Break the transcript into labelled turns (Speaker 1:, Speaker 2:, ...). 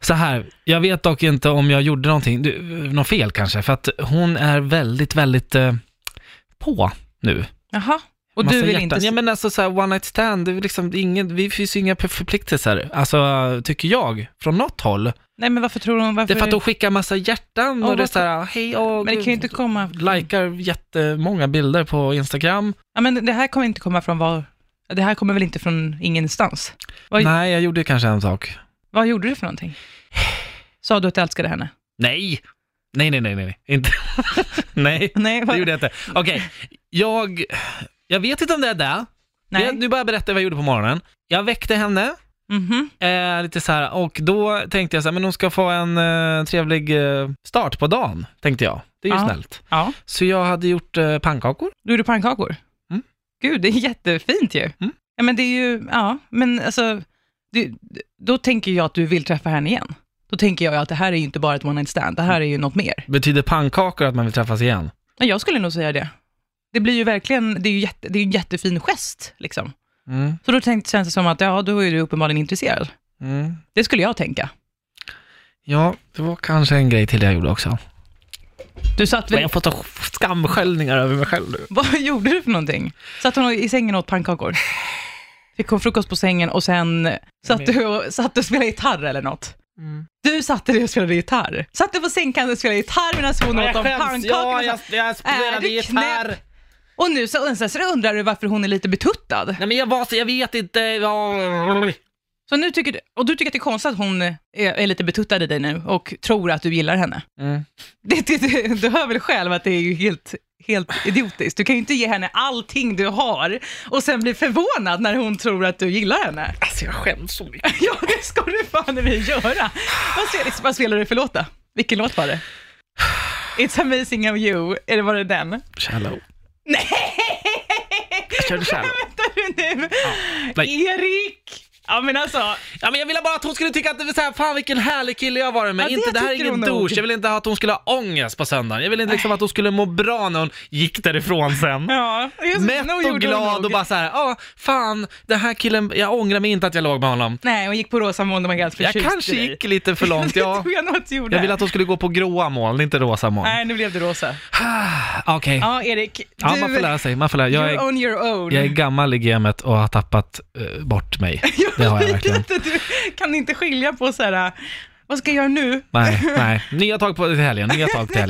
Speaker 1: Så här, jag vet dock inte om jag gjorde någonting, du, något fel kanske, för att hon är väldigt, väldigt eh, på nu.
Speaker 2: Jaha. Och
Speaker 1: Massa
Speaker 2: du vill
Speaker 1: hjärtan.
Speaker 2: inte...
Speaker 1: Ja men alltså så här, one night stand, det, är liksom, det är ingen, vi finns ju inga förpliktelser, alltså tycker jag, från något håll.
Speaker 2: Nej men varför tror hon... Varför...
Speaker 1: Det är för att de skickar massa hjärtan
Speaker 2: Ja,
Speaker 1: och det är
Speaker 2: varför-
Speaker 1: så här, hej och...
Speaker 2: Men det kan ju inte komma...
Speaker 1: Likar jättemånga bilder på Instagram.
Speaker 2: Ja, men det här kommer inte komma från var... Det här kommer väl inte från ingenstans? Vad-
Speaker 1: Nej, jag gjorde kanske en sak.
Speaker 2: Vad gjorde du för någonting? Sa du att du älskade henne?
Speaker 1: Nej! Nej, nej, nej, nej, nej. inte. nej,
Speaker 2: Nej,
Speaker 1: det gjorde jag inte. Okej, jag... Jag vet inte om det är det.
Speaker 2: Nej.
Speaker 1: Jag, nu bara berätta vad jag gjorde på morgonen. Jag väckte henne,
Speaker 2: Mhm.
Speaker 1: eh, lite så här, och då tänkte jag så här, men hon ska få en eh, trevlig eh, start på dagen, tänkte jag. Det är ju
Speaker 2: Ja.
Speaker 1: snällt.
Speaker 2: Ja.
Speaker 1: Så jag hade gjort eh, pannkakor.
Speaker 2: Du gjorde pannkakor?
Speaker 1: Mm.
Speaker 2: Gud, det är jättefint ju.
Speaker 1: Mm.
Speaker 2: Ja, men det är ju... Ja, men alltså... Det, då tänker jag att du vill träffa henne igen. Då tänker jag att det här är ju inte bara ett one night stand, det här är ju något mer.
Speaker 1: Betyder pannkakor att man vill träffas igen?
Speaker 2: Men jag skulle nog säga det. Det blir ju verkligen, det är ju jätte, det är en jättefin gest liksom.
Speaker 1: Mm,
Speaker 2: Så då tänkte, känns det som att, ja, då är du uppenbarligen intresserad.
Speaker 1: mm.
Speaker 2: Det skulle jag tänka.
Speaker 1: Ja, det var kanske en grej till jag gjorde också.
Speaker 2: Du satt
Speaker 1: Men
Speaker 2: väl,
Speaker 1: jag får ta skamskällningar över mig själv nu.
Speaker 2: vad gjorde du för någonting? Satt hon i sängen och åt pannkakor? Fick hon frukost på sängen och sen satt du och, satt du och spelade gitarr eller något?
Speaker 1: Mm.
Speaker 2: Du satte dig och spelade gitarr. Satt du på sängkanten och spelade gitarr medan hon åt de
Speaker 1: Ja,
Speaker 2: pannkakorna?
Speaker 1: jag, jag
Speaker 2: Är
Speaker 1: spelade
Speaker 2: du
Speaker 1: gitarr.
Speaker 2: knäpp? Och nu så, sen så undrar du varför hon är lite betuttad.
Speaker 1: Nej men jag var så, jag vet inte. Jag...
Speaker 2: Så nu tycker du, och du tycker att det är konstigt att hon är, är lite betuttad i dig nu och tror att du gillar henne. Det, det, det, du hör väl själv att det är ju helt, helt idiotiskt. Du kan ju inte ge henne allting du har och sen bli förvånad när hon tror att du gillar henne.
Speaker 1: Alltså jag skäms så mycket.
Speaker 2: Ja, det ska du fan i mig göra. Vad, spe- vad spelar du för låt då? Vilken låt var det? It's amazing of you, eller var det den?
Speaker 1: Shallow.
Speaker 2: Nej!
Speaker 1: Jag körde shallow.
Speaker 2: Vänta du nu!
Speaker 1: nej.
Speaker 2: Erik! Ja men alltså,
Speaker 1: Ja men jag ville bara att hon skulle tycka att det var så här, fan vilken härlig kille jag var med.
Speaker 2: Ja, det
Speaker 1: inte, det här är
Speaker 2: tycker
Speaker 1: ingen
Speaker 2: hon nog.
Speaker 1: douche. Jag ville inte att hon skulle ha ångest på söndagen. Jag ville inte liksom att hon skulle må bra när hon gick därifrån sen.
Speaker 2: ja. just- nog
Speaker 1: Mätt
Speaker 2: gjorde
Speaker 1: och
Speaker 2: hon
Speaker 1: glad
Speaker 2: nog.
Speaker 1: och bara så här, ja fan, den här killen, jag ångrar mig inte att jag låg med honom.
Speaker 2: Nej, hon gick på rosa moln och var helt
Speaker 1: Jag
Speaker 2: förtjust
Speaker 1: kanske
Speaker 2: i dig.
Speaker 1: gick lite för långt,
Speaker 2: Det
Speaker 1: ja.
Speaker 2: tror jag nog att du gjorde.
Speaker 1: Jag ville att hon skulle gå på gråa moln, inte rosa moln.
Speaker 2: Nej, nu blev det rosa.
Speaker 1: Okej.
Speaker 2: Ja, Erik. Du,
Speaker 1: Ja, man får lära sig. Man får lära. Jag,
Speaker 2: you're
Speaker 1: är,
Speaker 2: on your own.
Speaker 1: jag är gammal i gamet och har tappat eh, bort mig. Det har jag
Speaker 2: vet
Speaker 1: verkligen.
Speaker 2: inte, du kan inte skilja på så här, vad ska jag göra nu?
Speaker 1: Nej, nej. Nya tag på till helgen. Nya tag till helgen.